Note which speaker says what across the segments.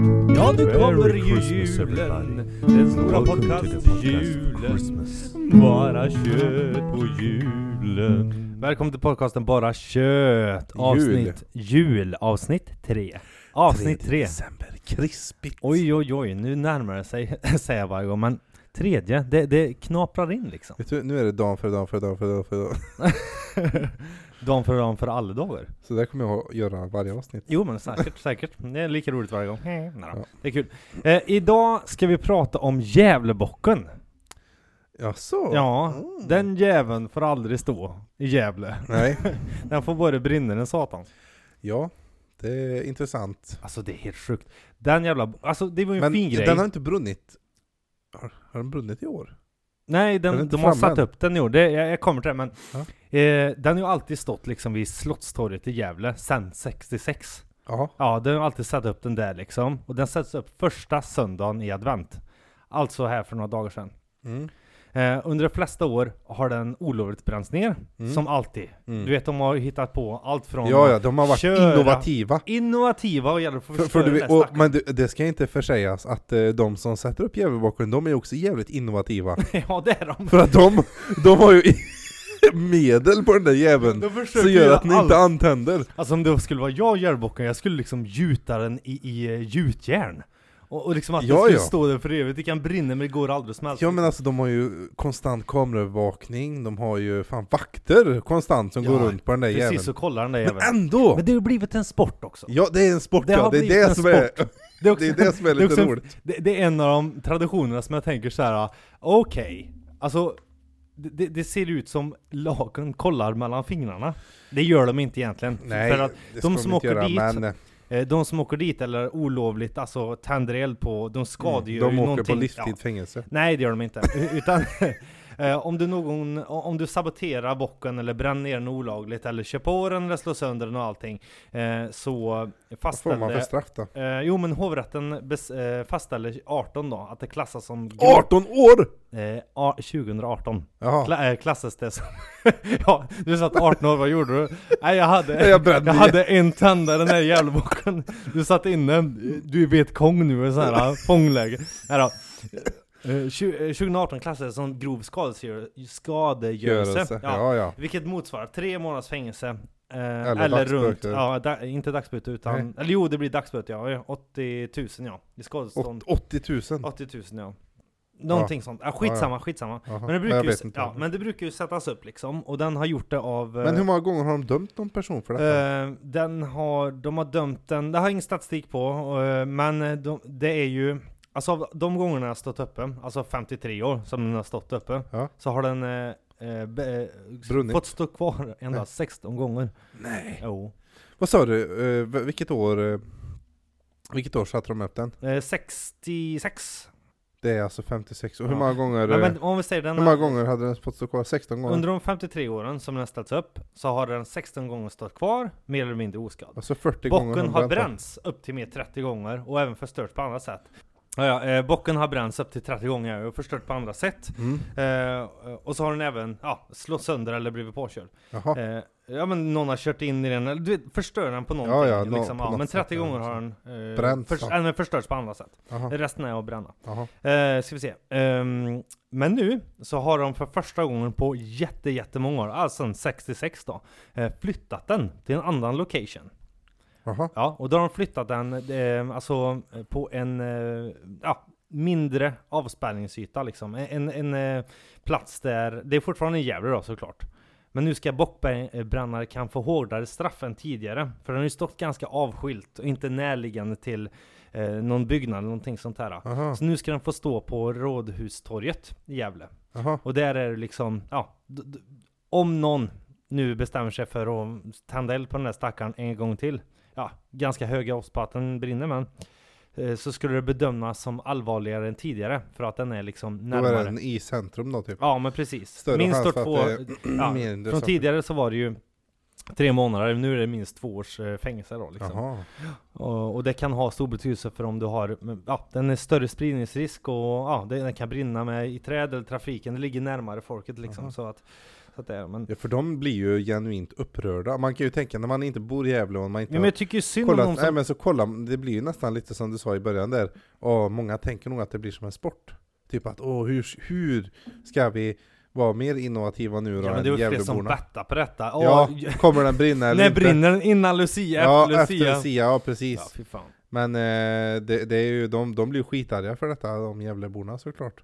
Speaker 1: Ja, nu
Speaker 2: Merry
Speaker 1: kommer ju
Speaker 2: Christmas, everybody.
Speaker 1: julen. Den stora
Speaker 2: Welcome to the podcast
Speaker 1: podcast-julen.
Speaker 2: Christmas.
Speaker 1: Bara kött på julen. Välkommen till podcasten Bara kött. Avsnitt jul. Avsnitt tre. Avsnitt
Speaker 2: Tredje
Speaker 1: tre.
Speaker 2: December, krispigt.
Speaker 1: Oj, oj, oj. Nu närmar det sig, säger jag varje gång. Men tredje, det, det knaprar in liksom.
Speaker 2: Vet du, nu är det dan för dan för dan för dan för dan.
Speaker 1: Dan för dan för alla dagar.
Speaker 2: Så där kommer jag att göra varje avsnitt.
Speaker 1: Jo men säkert, säkert. Det är lika roligt varje gång. Nej, då.
Speaker 2: Ja.
Speaker 1: Det är kul. Eh, idag ska vi prata om Gävlebocken.
Speaker 2: Jaså?
Speaker 1: Ja,
Speaker 2: Mm.
Speaker 1: den jäveln får aldrig stå i Gävle.
Speaker 2: Nej.
Speaker 1: Den får både brinna den satan.
Speaker 2: Ja, det är intressant.
Speaker 1: Alltså det är helt sjukt. Den jävla, alltså det var ju en
Speaker 2: Men
Speaker 1: fin grej.
Speaker 2: den har inte brunnit. Har, har den brunnit i år?
Speaker 1: Nej,
Speaker 2: den är
Speaker 1: den,
Speaker 2: inte
Speaker 1: de har
Speaker 2: framme
Speaker 1: satt
Speaker 2: än.
Speaker 1: upp den i år. Det, jag, jag kommer till det, men
Speaker 2: Ja.
Speaker 1: eh, den har ju alltid stått liksom vid Slottstorget i Gävle sen 66.
Speaker 2: Ja.
Speaker 1: Ja, den har alltid satt upp den där liksom. Och den sätts upp första söndagen i advent. Alltså här för några dagar sedan.
Speaker 2: Mm.
Speaker 1: Eh, under de flesta år har den olovligt bränts ner,
Speaker 2: Mm.
Speaker 1: som alltid.
Speaker 2: Mm.
Speaker 1: Du vet, de har ju hittat på allt från
Speaker 2: ja, ja, de har varit
Speaker 1: Köra.
Speaker 2: innovativa.
Speaker 1: innovativa och gäller för att
Speaker 2: För,
Speaker 1: förstöra
Speaker 2: för
Speaker 1: för,
Speaker 2: du, och, men det, det ska inte försägas att eh, de som sätter upp Gävlebocken, de är ju också jävligt innovativa.
Speaker 1: Ja, det är de.
Speaker 2: För att de, de har ju medel på den där jäveln.
Speaker 1: De
Speaker 2: Så
Speaker 1: försöker
Speaker 2: gör
Speaker 1: göra
Speaker 2: att ni
Speaker 1: allt.
Speaker 2: inte antänder.
Speaker 1: Alltså om det skulle vara jag i Järvbocken, jag skulle liksom gjuta den i, i eh, gjutjärn. Och, och liksom att
Speaker 2: Ja,
Speaker 1: det skulle
Speaker 2: ja.
Speaker 1: stå där för evigt, det kan brinna men det går aldrig att smälta.
Speaker 2: Ja men alltså de har ju konstant kameraövervakning, de har ju fan vakter konstant som
Speaker 1: Ja,
Speaker 2: går runt på den där
Speaker 1: Precis,
Speaker 2: jäveln.
Speaker 1: så kollar den där
Speaker 2: Men
Speaker 1: jäveln.
Speaker 2: ändå!
Speaker 1: Men det har ju blivit en sport också.
Speaker 2: Ja det är en sport
Speaker 1: Det
Speaker 2: ja,
Speaker 1: har
Speaker 2: det
Speaker 1: blivit
Speaker 2: är
Speaker 1: en
Speaker 2: det som är,
Speaker 1: sport. Det är, också,
Speaker 2: det är det som är
Speaker 1: det är
Speaker 2: lite
Speaker 1: också-
Speaker 2: roligt.
Speaker 1: det, det är en av de traditionerna som jag tänker så här. okej, alltså det, det- det ser ut som lagen kollar mellan fingrarna. Det gör de inte egentligen.
Speaker 2: Nej,
Speaker 1: för att
Speaker 2: det
Speaker 1: de
Speaker 2: ska
Speaker 1: som
Speaker 2: inte
Speaker 1: åker
Speaker 2: göra,
Speaker 1: dit-
Speaker 2: men eh,
Speaker 1: Eh, De som åker dit eller olovligt, alltså tänder eld på, de skadegör
Speaker 2: Mm. de
Speaker 1: ju
Speaker 2: åker
Speaker 1: någonting.
Speaker 2: på livstid
Speaker 1: Ja.
Speaker 2: fängelse.
Speaker 1: Nej det gör de inte. U- Utan eh, om du någon, om du saboterar bocken eller bränner ner den olagligt eller kör på den eller slår sönder den och allting. Eh, så
Speaker 2: Vad får man för
Speaker 1: fastställde...
Speaker 2: straff då?
Speaker 1: Eh, jo men hovrätten bes, eh, fastställde 18 då, att det klassas som... grov-
Speaker 2: 18 år!
Speaker 1: Eh, a- 2018.
Speaker 2: Jaha.
Speaker 1: Kla, eh, klassas det som... ja, du satt 18 år, vad gjorde du? Nej jag hade...
Speaker 2: Jag brände
Speaker 1: Jag
Speaker 2: ner.
Speaker 1: hade en tändare, den där jävlebocken. Du satt inne, du är vet kong nu, i sån här fångläge. Här då. Eh, tju- eh, 2018 klassades som grov skadegörelse. skadegörelse.
Speaker 2: Görelse.
Speaker 1: Ja.
Speaker 2: Ja, ja.
Speaker 1: Vilket motsvarar tre månaders fängelse. eh, eller
Speaker 2: Eller
Speaker 1: runt,
Speaker 2: dagsböter.
Speaker 1: ja, da, inte dagsböter utan,
Speaker 2: Nej.
Speaker 1: eller jo det blir dagsböter ja, 80 000 ja, i skadestånd.
Speaker 2: Åt- 80 000.
Speaker 1: 80 000 ja. Någonting sånt. Ja, skitsamma, skitsamma.
Speaker 2: Jaha.
Speaker 1: Men det,
Speaker 2: jag
Speaker 1: brukar ju,
Speaker 2: vet
Speaker 1: s-
Speaker 2: inte.
Speaker 1: ja, men det brukar ju sättas upp liksom, och den har gjort det av... eh,
Speaker 2: Men hur många gånger har de dömt någon person för detta?
Speaker 1: Eh, den har, de har dömt den, det har jag ingen statistik på, eh, men eh, de, det är ju, alltså av de gångerna jag har stått uppe, alltså 53 år som den har stått uppe,
Speaker 2: Ja.
Speaker 1: så har den eh, eh, be, eh,
Speaker 2: Brunnit.
Speaker 1: fått stå kvar endast 16 gånger.
Speaker 2: Nej.
Speaker 1: Jo.
Speaker 2: Vad sa du? Eh, v- vilket år? eh, Vilket år satte de upp den?
Speaker 1: Eh, 66.
Speaker 2: Det är alltså 56. Och hur
Speaker 1: Ja.
Speaker 2: många gånger?
Speaker 1: Men,
Speaker 2: eh,
Speaker 1: men om vi säger den,
Speaker 2: Hur många gånger hade den fått stå kvar? 16 gånger?
Speaker 1: under de 53 åren som den har ställts upp, så har den 16 gånger stått kvar, mer eller mindre oskadd.
Speaker 2: Alltså 40 gånger
Speaker 1: Bocken har
Speaker 2: den.
Speaker 1: bränts upp till mer 30 gånger och även förstörts på andra sätt. Ja, ja, eh, bocken har bränts upp till 30 gånger och förstört på andra sätt.
Speaker 2: Mm.
Speaker 1: Eh, och så har den även ja, slått sönder eller blivit påkörd.
Speaker 2: Jaha.
Speaker 1: Eh, ja men någon har kört in i den, eller du vet, förstör den på någonting.
Speaker 2: Ja, ja, nå-
Speaker 1: liksom,
Speaker 2: på
Speaker 1: ja,
Speaker 2: något
Speaker 1: men 30
Speaker 2: sätt, ja, liksom.
Speaker 1: gånger har den eh,
Speaker 2: Bränts,
Speaker 1: förs-
Speaker 2: ja.
Speaker 1: ja, men förstörts på andra sätt.
Speaker 2: Jaha.
Speaker 1: Resten är att bränna.
Speaker 2: Jaha.
Speaker 1: Eh, ska vi se. Ehm, men nu så har de för första gången på jätte, jättemånga år, alltså sedan 66 då, eh, flyttat den till en annan location.
Speaker 2: Jaha.
Speaker 1: Ja, och då har de flyttat den eh, alltså, eh, på en eh, ja, mindre avspärrningsyta liksom. En, en, en eh, plats där, det är fortfarande i Gävle då såklart. Men nu ska bockbrännare kan få hårdare straff än tidigare. För den har ju stått ganska avskilt och inte närliggande till eh, någon byggnad eller någonting sånt här.
Speaker 2: Jaha.
Speaker 1: Så nu ska den få stå på Rådhustorget i Gävle.
Speaker 2: Jaha.
Speaker 1: Och där är det liksom, ja, d- d- om någon nu bestämmer sig för att tända eld på den där stackaren en gång till, ja, ganska höga odds på att den brinner men, eh, så skulle det bedömas som allvarligare än tidigare för att den är liksom
Speaker 2: Då var
Speaker 1: närmare.
Speaker 2: den i centrum då typ.
Speaker 1: Ja men precis.
Speaker 2: Större
Speaker 1: minst
Speaker 2: chans
Speaker 1: år
Speaker 2: för att
Speaker 1: två,
Speaker 2: det är
Speaker 1: ja,
Speaker 2: mindre
Speaker 1: från
Speaker 2: saker.
Speaker 1: tidigare så var det ju tre månader, nu är det minst två års eh, fängelse då liksom.
Speaker 2: Jaha.
Speaker 1: Och, och det kan ha stor betydelse för om du har, men, ja, den är större spridningsrisk och ja, det, den kan brinna med i träd eller trafiken, det ligger närmare folket liksom.
Speaker 2: Aha.
Speaker 1: Så att, Så att det är, men,
Speaker 2: Ja, för de blir ju genuint upprörda. Man kan ju tänka när man inte bor i Gävle och man inte
Speaker 1: ja, men jag tycker ju synd om
Speaker 2: kollat,
Speaker 1: de
Speaker 2: nej
Speaker 1: som...
Speaker 2: men så kolla, det blir ju nästan lite som du sa i början där, åh, många tänker nog att det blir som en sport. Typ att åh, hur, hur ska vi vara mer innovativa nu då
Speaker 1: Ja, men det
Speaker 2: än
Speaker 1: var fler som
Speaker 2: Gävleborna?
Speaker 1: bettade på detta. Åh,
Speaker 2: Ja, kommer den brinna eller
Speaker 1: när
Speaker 2: inte?
Speaker 1: brinner den? Innan Lucia?
Speaker 2: ja,
Speaker 1: efter
Speaker 2: efter
Speaker 1: Lucia?
Speaker 2: Lucia, ja precis.
Speaker 1: Ja, fy fan.
Speaker 2: Men eh, det, det är ju, de, de blir ju skitarga för detta, de Gävleborna såklart.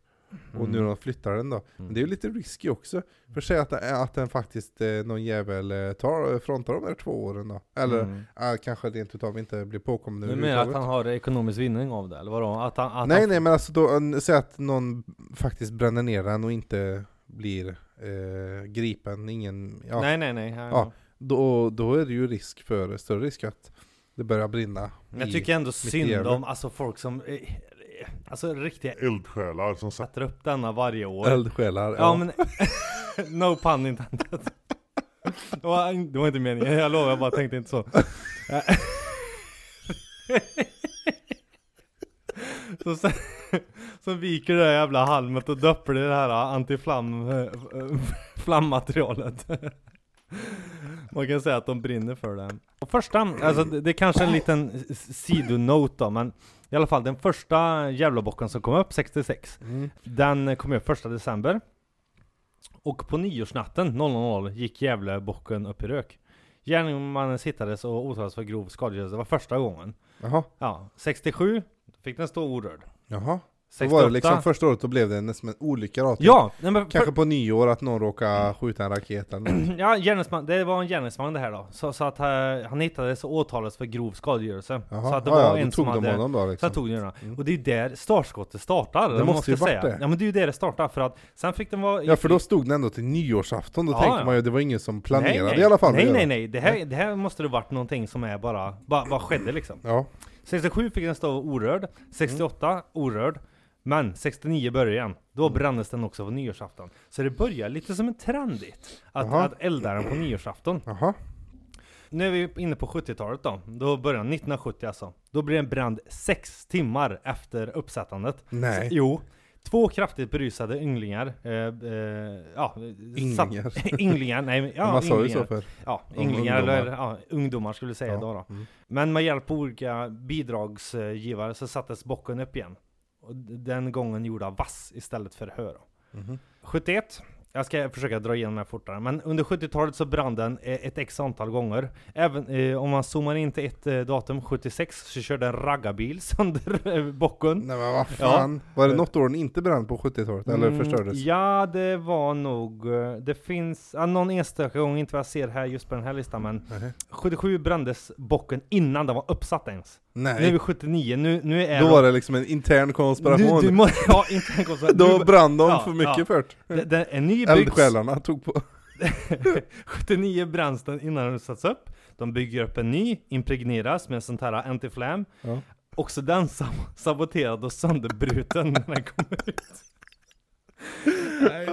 Speaker 2: Och
Speaker 1: Mm.
Speaker 2: nu när de flyttar den då. Men det är ju lite risky också. För säg att, att den faktiskt, eh, någon jävel eh, tar, frontar de där två åren då. Eller
Speaker 1: Mm.
Speaker 2: eh, kanske rent utav inte blir påkommen
Speaker 1: Du menar att
Speaker 2: överhuvudtaget.
Speaker 1: han har ekonomisk vinning av det, eller vadå? Att han, att
Speaker 2: Nej
Speaker 1: han...
Speaker 2: nej men alltså då, en- säg att någon faktiskt bränner ner den och inte blir eh, gripen, ingen, ja.
Speaker 1: nej, nej, nej.
Speaker 2: Ja, Då, då är det ju risk för, större risk att det börjar brinna.
Speaker 1: Men jag
Speaker 2: i-
Speaker 1: tycker ändå
Speaker 2: i
Speaker 1: synd
Speaker 2: Gävle.
Speaker 1: om alltså, folk som... eh, eh, Alltså riktiga
Speaker 3: eldsjälar som satt
Speaker 1: sätter upp denna varje år.
Speaker 2: eldsjälar.
Speaker 1: Ja men, no pun intended. Det var, det var inte meningen, jag lovar, jag bara tänkte inte så. så sen, så viker det där jävla halmet och döper det i det här antiflam, eh, eh, flammaterialet. Man kan säga att de brinner för det. Och första, alltså det, det är kanske en liten s- sidonote då, men i alla fall den första Gävlebocken som kom upp 66
Speaker 2: Mm.
Speaker 1: den kom upp första december. Och på nyårsnatten 00.00 gick Gävlebocken upp i rök. Gärningsmannen sittades och åtalades för grov skadegörelse. Det var första gången.
Speaker 2: Jaha.
Speaker 1: Ja, 67 fick den stå orörd.
Speaker 2: Jaha. Så
Speaker 1: 68.
Speaker 2: var det liksom första året, då blev det nästan en olycka då, typ.
Speaker 1: Ja, nej men för,
Speaker 2: Kanske på nyår att någon råkar skjuta en raket eller något.
Speaker 1: ja gärningsman, det var en gärningsman det här då. Så, så att eh, han hittades och åtalades för grov skadegörelse.
Speaker 2: Jaha,
Speaker 1: Så att det
Speaker 2: ja,
Speaker 1: var
Speaker 2: ja, då
Speaker 1: en
Speaker 2: tog
Speaker 1: som
Speaker 2: de
Speaker 1: hade...
Speaker 2: honom då
Speaker 1: Sen
Speaker 2: liksom.
Speaker 1: tog den den.
Speaker 2: Mm.
Speaker 1: Och det är ju där startskottet startar.
Speaker 2: Det
Speaker 1: man
Speaker 2: måste ju
Speaker 1: ska
Speaker 2: varit
Speaker 1: säga.
Speaker 2: det.
Speaker 1: Ja men det är ju där det startar. För att sen fick den vara...
Speaker 2: Ja för då stod den ändå till nyårsafton, då
Speaker 1: Ja,
Speaker 2: tänkte
Speaker 1: ja.
Speaker 2: man ju det var ingen som planerade
Speaker 1: nej, nej.
Speaker 2: i alla fall. att
Speaker 1: Nej
Speaker 2: göra
Speaker 1: nej
Speaker 2: det.
Speaker 1: nej, det här, det här måste det varit någonting som är bara, bara, bara skedde liksom.
Speaker 2: Ja,
Speaker 1: 67 fick den stå orörd, 68 orörd, men 69 började igen. Då
Speaker 2: Mm.
Speaker 1: brändes den också på nyårsafton. Så det börjar lite som en trendigt, att,
Speaker 2: Jaha.
Speaker 1: att elda den på nyårsafton.
Speaker 2: jaha.
Speaker 1: Nu är vi inne på 70-talet då, då börjar den, 1970 alltså. Då blir den bränd 6 timmar efter uppsättandet.
Speaker 2: Nej.
Speaker 1: Så, jo. Två kraftigt berusade ynglingar, eh, eh, ja,
Speaker 2: Ynglingar.
Speaker 1: satt- ynglingar, nej men- ja,
Speaker 2: man sa ju
Speaker 1: ynglingar.
Speaker 2: så för.
Speaker 1: Ja,
Speaker 2: Om
Speaker 1: ynglingar
Speaker 2: ungdomar.
Speaker 1: eller ja, ungdomar skulle vi säga
Speaker 2: Ja,
Speaker 1: idag då.
Speaker 2: mm.
Speaker 1: Men med hjälp av olika bidragsgivare så sattes bocken upp igen. Och d- den gången gjorde av vass istället för hö. Då.
Speaker 2: Mhm.
Speaker 1: 71, jag ska försöka dra igenom det här fortare, men under 70-talet så brann den eh, ett x antal gånger. Även eh, om man zoomar in till ett eh, datum, 76, så körde en raggarbil sönder eh, bocken.
Speaker 2: Nej men vad fan. Var det något år den inte brann på 70-talet? Eller
Speaker 1: Mm,
Speaker 2: förstördes?
Speaker 1: Ja, det var nog... eh, Det finns ja, någon enstaka gång, inte vad jag ser här just på den här listan, men
Speaker 2: Nej.
Speaker 1: 77 brändes bocken innan den var uppsatt ens. Nu är vi
Speaker 2: Nej.
Speaker 1: 79, nu, nu är
Speaker 2: Då var det liksom en intern
Speaker 1: nu,
Speaker 2: konspiration.
Speaker 1: du må, ja, inte en konspiration.
Speaker 2: Då brann de
Speaker 1: Ja,
Speaker 2: för mycket
Speaker 1: ja.
Speaker 2: fört.
Speaker 1: det, det, en ny byggs,
Speaker 2: Eldsjälarna tog på.
Speaker 1: 79 bränns den innan den satts upp. De bygger upp en ny, impregneras med en sån här antiflam.
Speaker 2: Ja.
Speaker 1: Också den sab- saboterad och sönderbruten när den kommer ut. Nej.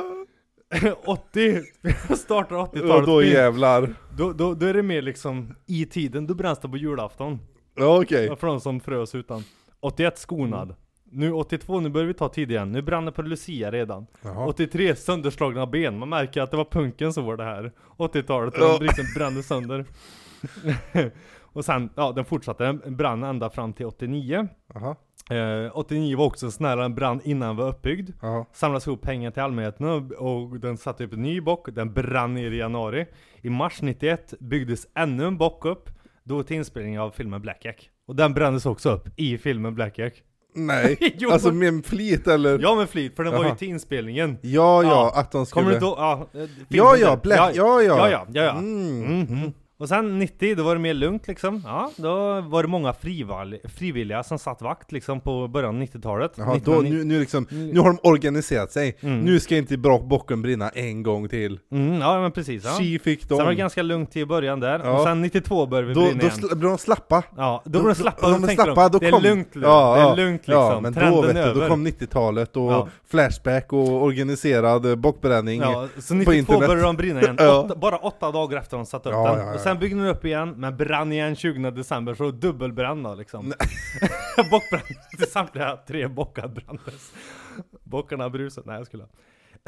Speaker 1: 80, startar 80-talet.
Speaker 2: Och då jävlar.
Speaker 1: då, då, då är det mer liksom i tiden, då bränns det på julafton.
Speaker 2: Ja okej. Mm.
Speaker 1: Ja, För de som frös utan. 81 skonad. Nu 82, nu börjar vi ta tid igen. Nu brann det på Lucia redan.
Speaker 2: Jaha.
Speaker 1: 83 sönderslagna ben. Man märker att det var punken som var det här. 80-talet,
Speaker 2: Ja.
Speaker 1: den liksom brände sönder. och sen, ja den fortsatte. Den brann ända fram till 89.
Speaker 2: Jaha.
Speaker 1: Eh, 89 var också en sån här, den brann innan den var uppbyggd.
Speaker 2: Jaha.
Speaker 1: Samlas ihop pengar till allmänheten och- och den satte upp en ny bock. Den brann ner i januari. I mars 91 byggdes ännu en bock upp. Då till inspelning av filmen Blackjack. Och den brändes också upp i filmen Blackjack.
Speaker 2: Nej.
Speaker 1: Jo.
Speaker 2: Alltså med en flit eller?
Speaker 1: Ja men flit, för den var ju
Speaker 2: Jaha.
Speaker 1: till inspelningen.
Speaker 2: Ja, ja,
Speaker 1: Ja.
Speaker 2: att de skulle...
Speaker 1: Kommer du då? Ja, eh, filmen
Speaker 2: Ja, ja,
Speaker 1: där.
Speaker 2: Black, ja, ja.
Speaker 1: Ja, ja, ja, ja.
Speaker 2: Mm.
Speaker 1: Mhm. Och sen 90, då var det mer lugnt liksom. Ja, då var det många frival- frivilliga som satt vakt liksom på början av 90-talet.
Speaker 2: Jaha, då,
Speaker 1: 1990
Speaker 2: nu, nu, liksom, nu har de organiserat sig. Nu ska inte bra bocken brinna en gång till.
Speaker 1: Mm, ja men precis. Ja. Sen
Speaker 2: Tji fick
Speaker 1: var det
Speaker 2: de.
Speaker 1: ganska lugnt i början där.
Speaker 2: Ja.
Speaker 1: Och sen 92 började vi
Speaker 2: Då,
Speaker 1: brinna
Speaker 2: då
Speaker 1: igen.
Speaker 2: sl- blir de slappa.
Speaker 1: Ja, då blir de slappa, då
Speaker 2: är
Speaker 1: tänkte
Speaker 2: slappa,
Speaker 1: de,
Speaker 2: då
Speaker 1: det är
Speaker 2: kom-
Speaker 1: lugnt nu, det är lugnt liksom,
Speaker 2: Ja, men
Speaker 1: trenden
Speaker 2: då, vet
Speaker 1: är
Speaker 2: du,
Speaker 1: över.
Speaker 2: då kom 90-talet och
Speaker 1: Ja.
Speaker 2: Flashback och organiserad eh, bockbränning.
Speaker 1: Ja, så 92
Speaker 2: internet.
Speaker 1: började de brinna igen,
Speaker 2: Ja.
Speaker 1: åtta, bara åtta dagar efter de satt upp
Speaker 2: Ja,
Speaker 1: den.
Speaker 2: ja, ja.
Speaker 1: Och sen byggde de upp igen, men brann igen 20 december, så dubbelbrann då liksom. Bockbrand, samtliga tre bockar brändes. Bockarna brusade, nej jag skulle ha.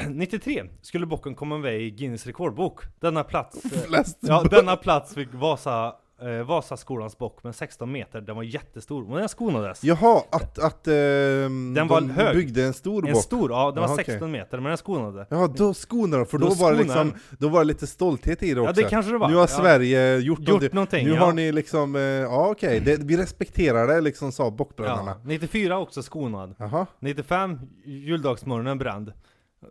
Speaker 1: 93 skulle bocken komma med i Guinness rekordbok. Denna plats, eh,
Speaker 2: Flest
Speaker 1: ja, denna plats fick Vasa, eh, Vasaskolans bock med 16 meter. Den var jättestor, men den skonades.
Speaker 2: Jaha, att, att ehm,
Speaker 1: Den var
Speaker 2: de
Speaker 1: hög.
Speaker 2: byggde en stor
Speaker 1: En
Speaker 2: bock.
Speaker 1: stor, ja den var
Speaker 2: Jaha, okej.
Speaker 1: 16 meter, men den skonade.
Speaker 2: Ja, då skonar de, för då,
Speaker 1: Då
Speaker 2: var det
Speaker 1: skonar
Speaker 2: liksom, då var det lite stolthet i det också.
Speaker 1: Ja det kanske det var.
Speaker 2: Nu har
Speaker 1: ja.
Speaker 2: Sverige gjort,
Speaker 1: Gjort någonting,
Speaker 2: Nu
Speaker 1: ja.
Speaker 2: har ni liksom, eh, ja okej, det- vi respekterar det liksom sa bockbrännarna.
Speaker 1: ja. 94 också skonad.
Speaker 2: Jaha,
Speaker 1: 95, juldagsmorgonen bränd.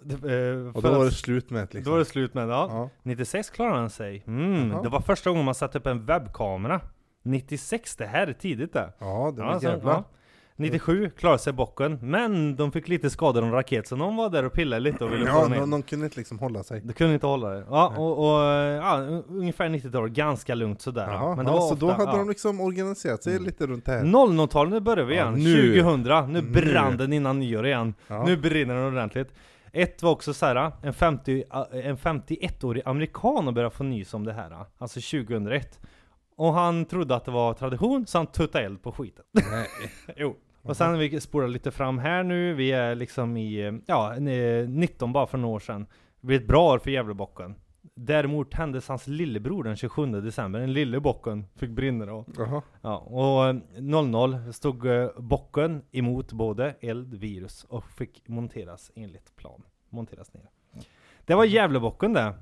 Speaker 1: Det, eh, för
Speaker 2: och då
Speaker 1: att-
Speaker 2: var det slut med det liksom.
Speaker 1: då var det slut med det, ja.
Speaker 2: ja.
Speaker 1: 96 klarade han sig. Mm,
Speaker 2: Jaha.
Speaker 1: det var första gången man satte upp en webbkamera. 96, det här är tidigt det.
Speaker 2: ja, det var
Speaker 1: Ja, sen-
Speaker 2: jävlar.
Speaker 1: ja. 97 klarade sig bocken, men de fick lite skador om raket, så någon var där och pillade lite och ville få
Speaker 2: Ja,
Speaker 1: den in.
Speaker 2: någon, någon kunde inte liksom hålla sig.
Speaker 1: Det kunde inte hålla det. Ja,
Speaker 2: Nej.
Speaker 1: och, och ja, un- ungefär 90 dagar, ganska lugnt sådär.
Speaker 2: Jaha,
Speaker 1: men
Speaker 2: men
Speaker 1: det
Speaker 2: så då hade
Speaker 1: ja.
Speaker 2: de liksom organiserat sig
Speaker 1: Mm.
Speaker 2: lite runt det här.
Speaker 1: 00-talet, nu börjar vi
Speaker 2: Ja,
Speaker 1: igen.
Speaker 2: nu.
Speaker 1: 2000, nu
Speaker 2: Nu.
Speaker 1: brann den innan nyår igen.
Speaker 2: Ja.
Speaker 1: Nu brinner den ordentligt. Ett var också så här, en, 50, en 51-årig amerikan började få nys om det här, alltså 2001. Och han trodde att det var tradition, så han tuttade eld på skiten.
Speaker 2: Nej.
Speaker 1: jo. Och sen vi spolar lite fram här nu, vi är liksom i, ja, en, eh, 19 bara för några år sedan. Det blir ett bra år för Gävlebocken. Däremot tändes hans lillebror den 27 december, den lille bocken fick brinna då.
Speaker 2: Jaha.
Speaker 1: Ja, och eh, 0-0 stod eh, bocken emot både eld, virus och fick monteras enligt plan. Monteras ner. Det var Gävlebocken det.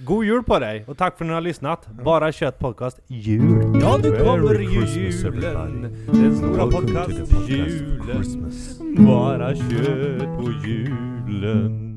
Speaker 1: God jul på dig och tack för att ni har lyssnat. Bara kött podcast jul. Ja, nu kommer ju julen. Den stora podcast julen. Bara kött på julen.